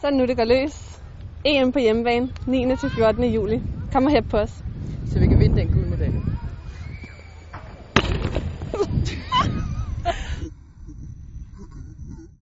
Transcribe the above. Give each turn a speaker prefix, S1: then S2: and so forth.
S1: Så er det nu, det går løs. E EM på hjemmebane, 9. til 14. juli. Kom og hæb på os.
S2: Så vi kan vinde den gule medalje.